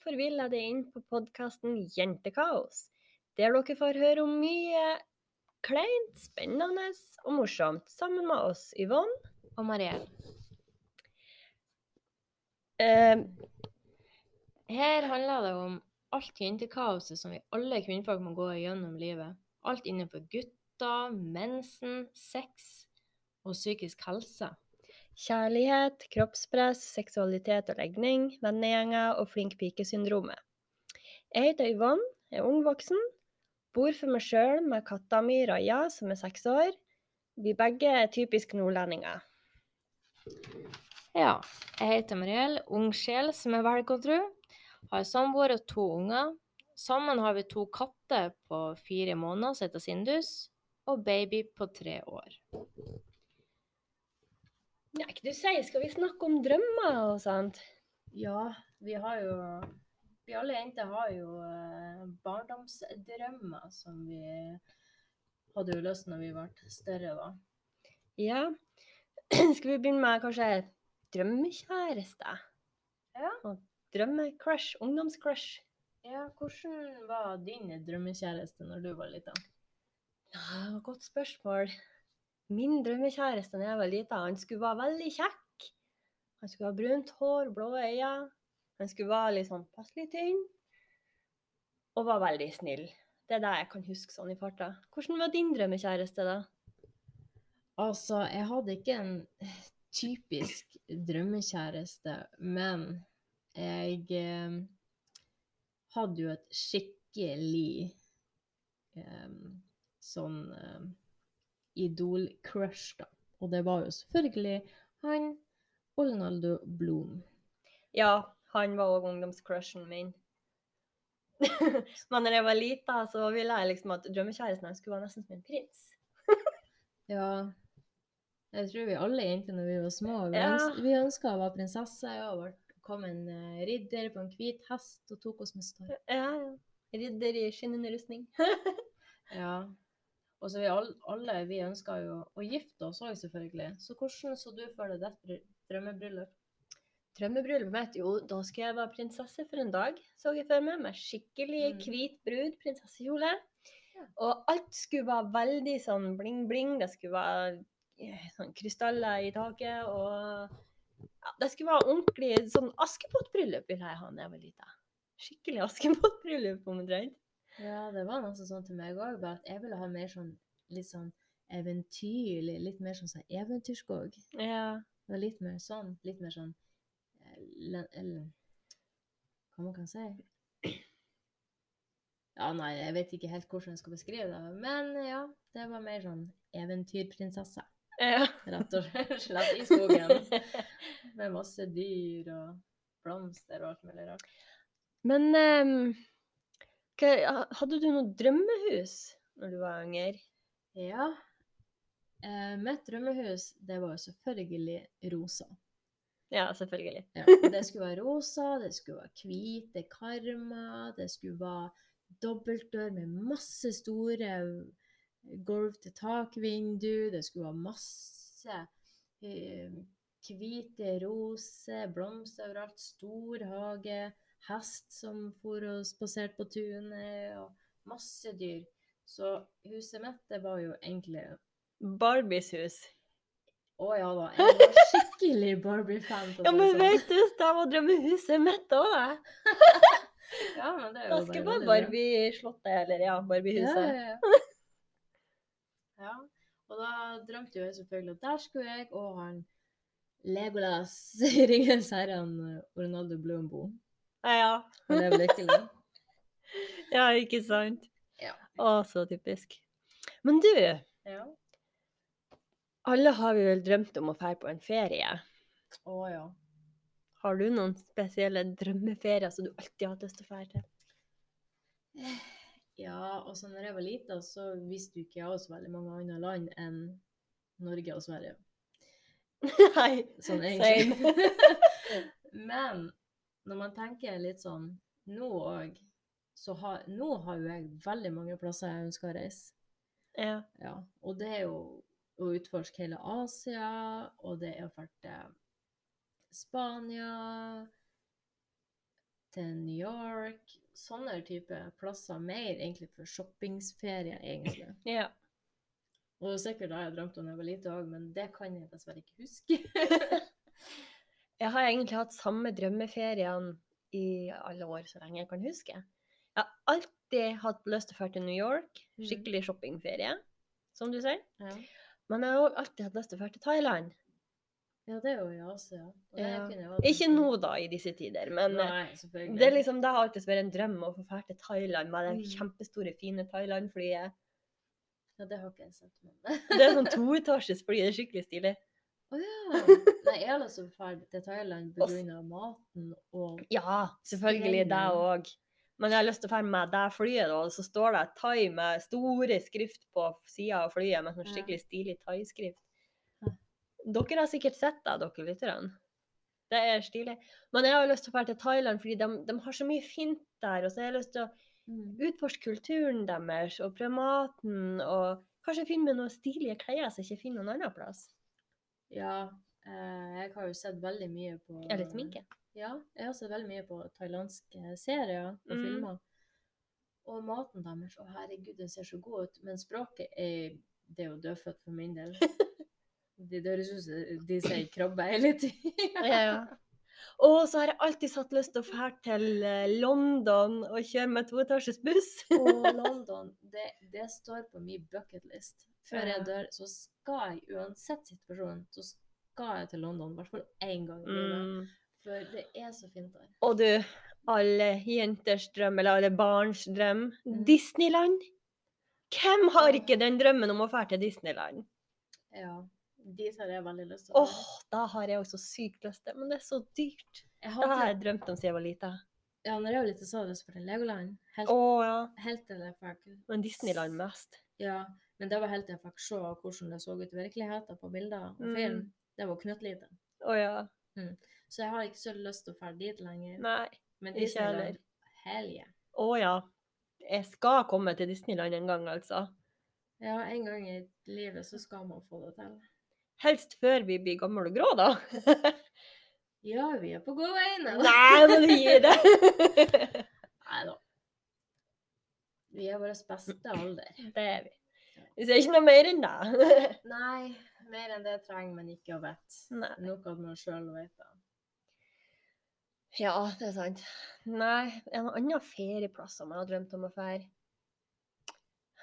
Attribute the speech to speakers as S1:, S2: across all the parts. S1: spiller jeg det inn på podkasten Jentekaos, der dere får høre om mye kleint, spennende og morsomt sammen med oss, Yvonne.
S2: Og Mariell.
S1: Eh,
S2: Her handler det om alt jentekaoset som vi alle kvinnfolk må gå gjennom livet. Alt innenfor gutter, mensen, sex og psykisk helse.
S1: kjærlighet, kroppspress, seksualitet og legning, vennegjenger og flink pike-syndromet. Jeg heter Yvonne, er ung voksen, bor for meg sjøl med katta mi Raja, som er seks år. Vi begge er typisk nordlendinger.
S2: Ja, jeg heter Mariell, ung sjel som er velg og tru. Har samboer og to unger. Sammen har vi to katter på fire måneder som heter Sindus, og baby på tre år.
S1: Ja, ikke du sier, skal vi snakke om drømmer og sånt?
S2: Ja, vi har jo Vi alle jenter har jo eh, barndomsdrømmer som vi hadde jo lyst når vi ble større, da.
S1: Ja. Skal vi begynne med kanskje drømmekjæreste?
S2: Ja.
S1: Og drømmecrush, ungdomscrush.
S2: Ja, hvordan var din drømmekjæreste når du var liten?
S1: Ja, godt spørsmål. Min drømmekjæreste da jeg var lita, han skulle være veldig kjekk. Han skulle ha brunt hår, blå øyne. Han skulle være litt sånn passelig tynn. Og var veldig snill. Det er det jeg kan huske sånn i farta. Hvordan var din drømmekjæreste, da?
S2: Altså, jeg hadde ikke en typisk drømmekjæreste, men jeg eh, hadde jo et skikkelig eh, sånn eh, idol-crush, da. Og det var jo selvfølgelig han Olnaldo Blom.
S1: Ja, han var òg ungdomscrushen min. Men når jeg var lita, så ville jeg liksom at drømmekjæresten hans skulle være nesten som en prins.
S2: Ja. Jeg tror vi alle jenter når vi var små, vi,
S1: Ja.
S2: øns vi ønska å være prinsesse. Og var- kom en eh, ridder på en hvit hest og tok oss med storm.
S1: Ja, ja. Ridder i skinnende rustning.
S2: Ja. Og så vi all, alle vi ønska jo å gifte oss òg, selvfølgelig. Så hvordan så du for deg ditt bry- drømmebryllup?
S1: Drømmebryllup mitt? Jo, da skal jeg være prinsesse for en dag, så jeg for meg. Med skikkelig
S2: Mm.
S1: hvit brud, prinsessekjole.
S2: Ja.
S1: Og alt skulle være veldig sånn bling-bling. Det skulle være eh, sånn krystaller i taket og ja, Det skulle være ordentlig sånn Askepott-bryllup ville jeg ha da jeg var lita. Skikkelig Askepott-bryllup, omtrent.
S2: Ja, det var nesten sånn til meg òg, bare at jeg ville ha mer sånn litt sånn eventyrlig, litt mer sånn som eventyrskog.
S1: Ja.
S2: Det var litt mer sånn, litt mer sånn eh, le- eller, Hva man kan si? Ja, nei, jeg vet ikke helt hvordan jeg skal beskrive det, men ja, det var mer sånn eventyrprinsesse,
S1: ja.
S2: rett og slett, i skogen. Med masse dyr og blomster og alt mulig rart.
S1: Men ehm, hva- hadde du noe drømmehus når du var yngre?
S2: Ja. Eh, mitt drømmehus, det var jo selvfølgelig rosa.
S1: Ja, selvfølgelig.
S2: Ja, og det skulle være rosa, det skulle være hvite karmer, det skulle være dobbeltdør med masse store gulv til takvindu, det skulle være masse eh, hvite roser, blomster overalt, stor hage, hest som for og spaserte på tunet, og masse dyr. Så huset mitt, det var jo egentlig
S1: Barbies hus.
S2: Å ja da, jeg var skikkelig Barbie-fan. for å
S1: Ja,
S2: si det
S1: men
S2: sånn.
S1: vet du, det var drømmehuset mitt òg, det.
S2: Ja, men det er jo
S1: Da
S2: bare
S1: skal jeg være
S2: veldig bra.
S1: Barbie-slottet, eller ja,
S2: Ja,
S1: Barbie-huset.
S2: ja, ja. ja. Og da drømte jo jeg selvfølgelig at der skulle jeg og han Legolas i Ringens herre-en Ronaldo Blom bo.
S1: Ja, ja.
S2: Og leve lykkelig.
S1: ja, ikke sant?
S2: Ja.
S1: Å, så typisk. Men du,
S2: Ja.
S1: alle har vi vel drømt om å dra på en ferie.
S2: Å ja.
S1: Har du noen spesielle drømmeferier som du alltid har hatt lyst til å dra til?
S2: Ja, og så når jeg var lita, så visste jo ikke jeg også veldig mange andre land enn Norge og Sverige.
S1: Nei.
S2: Sånn
S1: Same.
S2: egentlig. Men når man tenker litt sånn nå òg, så har, nå har jo jeg veldig mange plasser jeg ønsker å reise.
S1: Ja.
S2: Ja, og det er jo å utforske hele Asia, og det er å farte Spania, til New York. Sånne type plasser mer egentlig for shoppingferie, egentlig.
S1: Ja.
S2: Og sikkert har jeg drømt om da jeg var lite òg, men det kan jeg dessverre ikke huske.
S1: Jeg har egentlig hatt samme drømmeferien i alle år, så lenge jeg kan huske. Jeg har alltid hatt lyst til å dra til New York.
S2: Mhm.
S1: Skikkelig shoppingferie, som du sier.
S2: Mm, ja.
S1: Men jeg har òg alltid hatt lyst til å dra til Thailand.
S2: ja, det er jo i Asia. og det
S1: Ja.
S2: kunne jeg vært-
S1: Ikke nå, da, i disse tider, men eh,
S2: Nei, selvfølgelig.
S1: det, er liksom, det har alltid vært en drøm å få dra til Thailand med det
S2: Mm.
S1: kjempestore, fine Thailand-flyet.
S2: Ja, det har ikke jeg sett. Men...
S1: Det er sånn toetasjes fly, det er skikkelig stilig.
S2: Å ja. Nei, jeg er altså ferdig til Thailand
S1: Og s-
S2: pga. maten og
S1: Ja, selvfølgelig det
S2: Spennende.
S1: òg. Men jeg har lyst til å dra med det flyet, da, og så står det Thai med store skrift på sida av flyet, med sånn
S2: Ja.
S1: skikkelig stilig thaiskrift.
S2: Ja.
S1: Dere har sikkert sett det, dere lytterne. Det er stilig. Men jeg har lyst til å dra til Thailand, fordi de, de har så mye fint der. Og så har jeg lyst til å
S2: mm.
S1: utforske kulturen deres og prøve maten, og kanskje finne meg noen stilige klær som jeg ikke finner noen annen plass.
S2: Ja. eh, Jeg har jo sett veldig mye på
S1: Eller sminke.
S2: Ja, jeg har sett veldig mye på thailandske serier og
S1: Mm.
S2: filmer. Og maten deres Å, herregud, den ser så god ut. Men språket er Det er jo dødfødt for min del. De høres ut som de sier krabbe hele tida.
S1: Ja, ja. Og så har jeg alltid hatt lyst til å dra til eh, London og kjøre med toetasjes buss.
S2: Og London, det, det står på min bucketlist. Før
S1: Ja.
S2: jeg dør, så skal jeg uansett situasjonen, så skal jeg til London. I hvert fall én gang. i livet.
S1: Mm.
S2: For det er så fint der.
S1: Og du, alle jenters drøm, eller alle barns drøm,
S2: Mm.
S1: Disneyland. Hvem har ikke den drømmen om å dra til Disneyland?
S2: Ja. Dit har jeg veldig lyst til
S1: Åh,
S2: å dra.
S1: da har jeg også sykt lyst til, men det er så dyrt. Det
S2: Jeg
S1: har
S2: hadde,
S1: jeg drømt om siden jeg var lita.
S2: ja, når jeg var liten, så hadde jeg lyst til Legoland. Helt,
S1: Å ja.
S2: helt til jeg fikk
S1: Men Disneyland mest.
S2: Ja. Men det var helt til jeg fikk se hvordan det så ut i virkeligheten på bilder og film.
S1: Mm.
S2: Det var knøttlite.
S1: Å ja.
S2: Så jeg har ikke så lyst til å dra dit lenger.
S1: Nei.
S2: Men
S1: ikke
S2: Disneyland,
S1: heller.
S2: hell yeah.
S1: Å ja. Jeg skal komme til Disneyland en gang, altså.
S2: Ja, en gang i livet så skal man få det til.
S1: Helst før vi blir gamle og grå, da.
S2: Ja, vi er på god vei nå.
S1: Nei, men vi gir det.
S2: Nei da. Vi er vår beste alder.
S1: Det er vi. Vi ser ikke noe mer enn det.
S2: Nei, mer enn det trenger man ikke å vite.
S1: Nei.
S2: Nok at man sjøl vet det.
S1: Ja, det er sant. Nei, en annen ferieplass som jeg har drømt om å fære.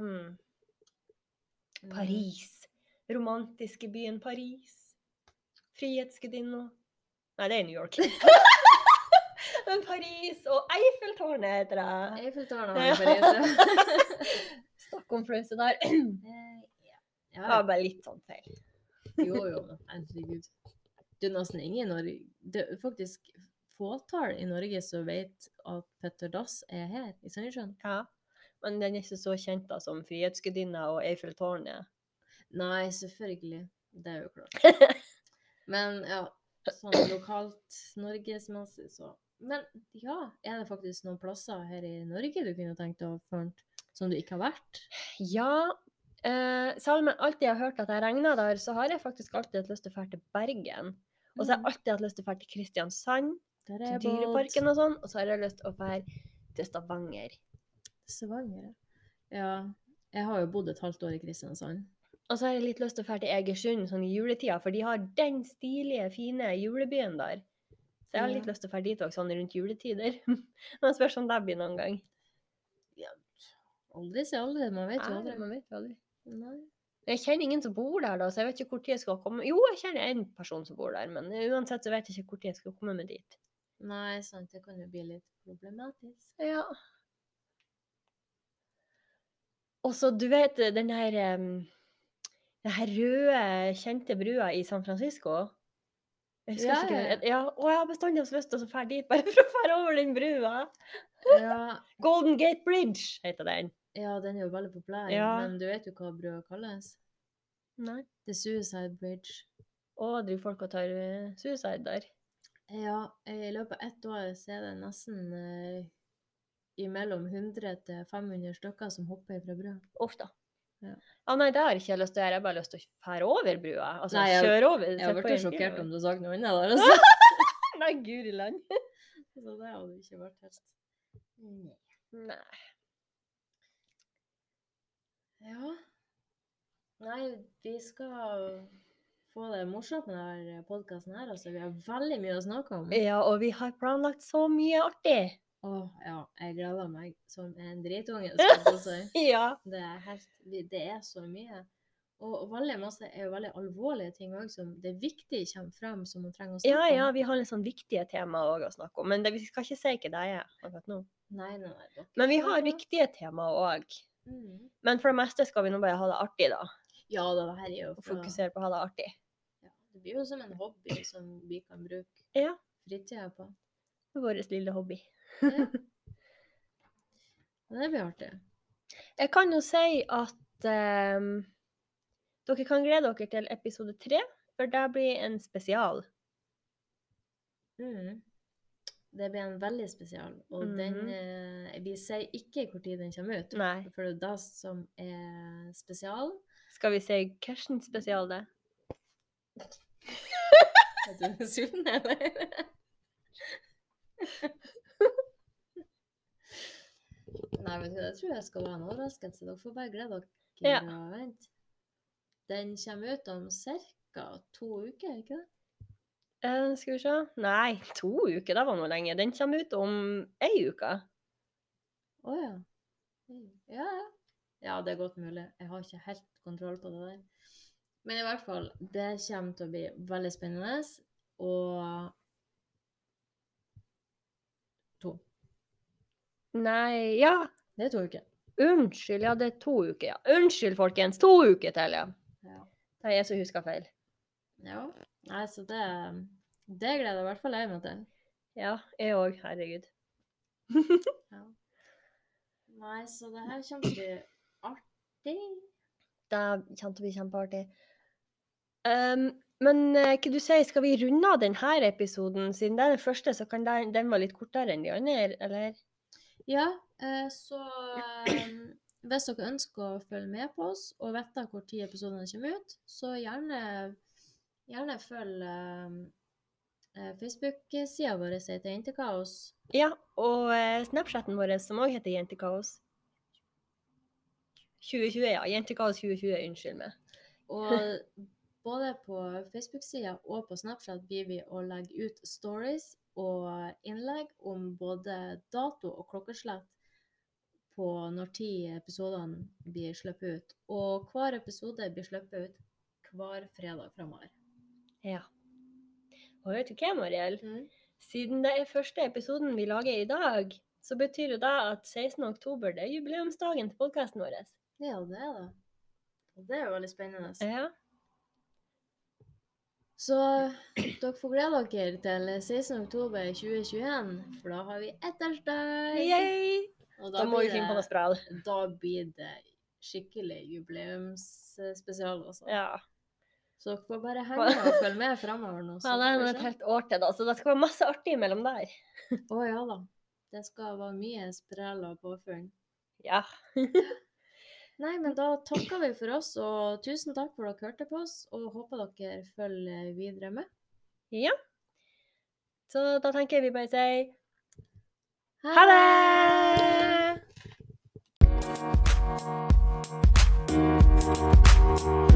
S1: Hmm.
S2: Mm.
S1: Paris. Romantiske byen Paris. Frihetsgudinna. Nei, det er i New York. Men Paris og Eiffeltårnet heter det.
S2: Eiffeltårnet
S1: Ja.
S2: har Paris.
S1: Snakk om flause der.
S2: Eh, ja.
S1: Det
S2: ja.
S1: var bare litt sånn feil.
S2: Jo, jo. men Herregud. Det er nesten ingen i Norge Det er faktisk fåtall i Norge som vet at Petter Dass er her i Sandnessjøen.
S1: Ja. Men den er ikke så kjent da som Frihetsgudinna og Eiffeltårnet.
S2: Nei, selvfølgelig. Det er jo klart. Men ja, sånn lokalt norgesmessig, så Men ja, er det faktisk noen plasser her i Norge du kunne tenkt å funnet som du ikke har vært?
S1: Ja, eh, selv om jeg alltid har hørt at jeg regner der, så har jeg faktisk alltid hatt lyst til å dra til Bergen. Og så har
S2: Mm.
S1: jeg alltid hatt lyst til å dra til Kristiansand,
S2: Der
S1: til
S2: er
S1: Dyreparken og sånn. Og så har jeg lyst til å dra til Stavanger.
S2: Stavanger. Ja. Jeg har jo bodd et halvt år i Kristiansand.
S1: Og så har jeg litt lyst til å dra til Egersund sånn i juletida, for de har den stilige, fine julebyen der. Så jeg har litt
S2: Ja.
S1: lyst til å dra dit òg, sånn rundt juletider. Men spørs om det blir noen gang.
S2: Aldri si aldri, man vet jo
S1: Nei,
S2: aldri.
S1: man vet jo aldri.
S2: Nei.
S1: Ah. Jeg kjenner ingen som bor der, da, så jeg vet ikke hvor tid jeg skal komme. Jo, jeg kjenner én person som bor der, men uansett så vet jeg ikke hvor tid jeg skal komme meg dit.
S2: Nei, sant, det kan jo bli litt problematisk.
S1: Ja. Og så, du vet eh, den her em, Den her røde, kjente brua i San Francisco? Jeg husker
S2: Ja,
S1: ikke
S2: ja,
S1: hva den- ja. Og jeg har bestandig hatt lyst til å fære dit, bare for å fære over den brua.
S2: Ja,
S1: Golden Gate Bridge heter den.
S2: ja den er jo veldig populær,
S1: Ja.
S2: men du vet jo hva brødet kalles?
S1: Nei.
S2: The Suicide Bridge.
S1: Og driver folk og tar eh, suicide der.
S2: Ja, i løpet av ett år så er det nesten eh, imellom 100 til 500 stykker som hopper fra brød.
S1: Uff da.
S2: Ja.
S1: Ah, nei, det har ikke jeg lyst til å gjøre. Jeg har bare lyst til å fære over brua. Altså
S2: Nei, jeg-
S1: kjøre over.
S2: Jeg
S1: sette på
S2: ble
S1: en bil
S2: sjokkert
S1: over.
S2: om du har sagt noe annet der, altså.
S1: Nei, guri land.
S2: Så det hadde jo ikke vært helt Nei.
S1: Nei.
S2: Ja.
S1: Nei,
S2: Vi skal få det morsomt med denne podkasten her, altså. Vi har veldig mye å snakke om.
S1: Ja, og vi har planlagt så mye artig.
S2: Å, ja. Jeg gleder meg som en dritunge, skal jeg få si.
S1: Ja.
S2: Det er, helt, vi- det er så mye. Og veldig masse er jo veldig alvorlige ting òg som det er viktig kommer frem, som man trenger å snakke
S1: Ja, ja,
S2: om.
S1: vi har litt sånn viktige temaer også å snakke om. Men det, vi skal ikke si hva det er akkurat nå.
S2: Nei, nei, nei. dere
S1: Men vi har
S2: klarer det.
S1: viktige temaer òg.
S2: Mm.
S1: Men for det meste skal vi nå bare ha det artig, da.
S2: Ja da, det her er jo
S1: Og
S2: fra
S1: fokusere på å ha det artig.
S2: ja, Det blir jo som en hobby som vi kan bruke
S1: Ja.
S2: fritida på.
S1: Vår lille hobby.
S2: Ja. Men Det blir artig.
S1: Jeg kan jo si at ehm, dere kan glede dere til episode tre, for det blir en spesial.
S2: Mm. Det blir en veldig spesial, og den
S1: Mhm.
S2: eh, Vi sier ikke når den kommer ut,
S1: Nei.
S2: for det er det som er spesial.
S1: Skal vi si hvilken spesial det er?
S2: Er du misunnelig, eller? Nei, vet du, hva, jeg tror jeg skal være en overraskelse. Dere får bare glede dere
S1: Ja.
S2: og vente. Den kommer ut om ca. to uker, ikke det?
S1: Eh, skal vi se Nei, to uker, det var nå lenge. Den kommer ut om ei uke.
S2: Å ja. Mm. Ja, ja. Ja, det er godt mulig. Jeg har ikke helt kontroll på det der. Men i hvert fall, det kommer til å bli veldig spennende. Og
S1: Nei, ja.
S2: det er to uker.
S1: Unnskyld, ja, det er to uker, ja. Unnskyld, folkens. To uker til, ja.
S2: Ja.
S1: Det er jeg som husker feil.
S2: Ja. Nei, så det, det gleder jeg i hvert fall jeg meg til.
S1: Ja, jeg òg. Herregud.
S2: Nei, så det her kommer til å bli artig.
S1: Det kommer til å bli kjempeartig. Um, men eh, hva du sier, skal vi runde av denne episoden? Siden det er den første, så kan den, den være litt kortere enn de andre, eller?
S2: Ja, eh, så eh, hvis dere ønsker å følge med på oss og vite hvor tid episodene kommer ut, så gjerne, gjerne følg eh, eh, Facebook-sida vår som heter Jentekaos.
S1: Ja, og eh, Snapchatten vår, som òg heter Jentekaos. 2020, ja. Jentekaos 2020, unnskyld meg.
S2: Og både på Facebook-sida og på Snapchat blir vi å legge ut stories og innlegg om både dato og klokkeslett på når tid episodene blir sluppet ut. Og hver episode blir sluppet ut hver fredag framover.
S1: Ja. Og vet du hva, Mariell? Siden det er første episoden vi lager i dag, så betyr jo det at 16. oktober det er jubileumsdagen til podkasten vår.
S2: Ja, det er det. Og det er jo veldig spennende.
S1: Ja.
S2: Så dere får glede dere til 16.10.2021, for da har vi ettårsdag!
S1: Yay!
S2: Og
S1: Da må
S2: blir
S1: vi finne på noe
S2: det-
S1: sprell.
S2: da blir det skikkelig jubileumsspesial, altså.
S1: Ja.
S2: Så dere får bare henge med og følge med fremover nå. så
S1: Ja, det er
S2: får
S1: nå
S2: vi
S1: et
S2: se.
S1: helt år til, da, så det skal være masse artig imellom der.
S2: Å ja da. Det skal være mye sprell og påfunn.
S1: Ja.
S2: Nei, men da takker vi for oss, og tusen takk for dere hørte på oss, og håper dere følger videre med.
S1: ja. Så da tenker jeg vi bare sier ha det!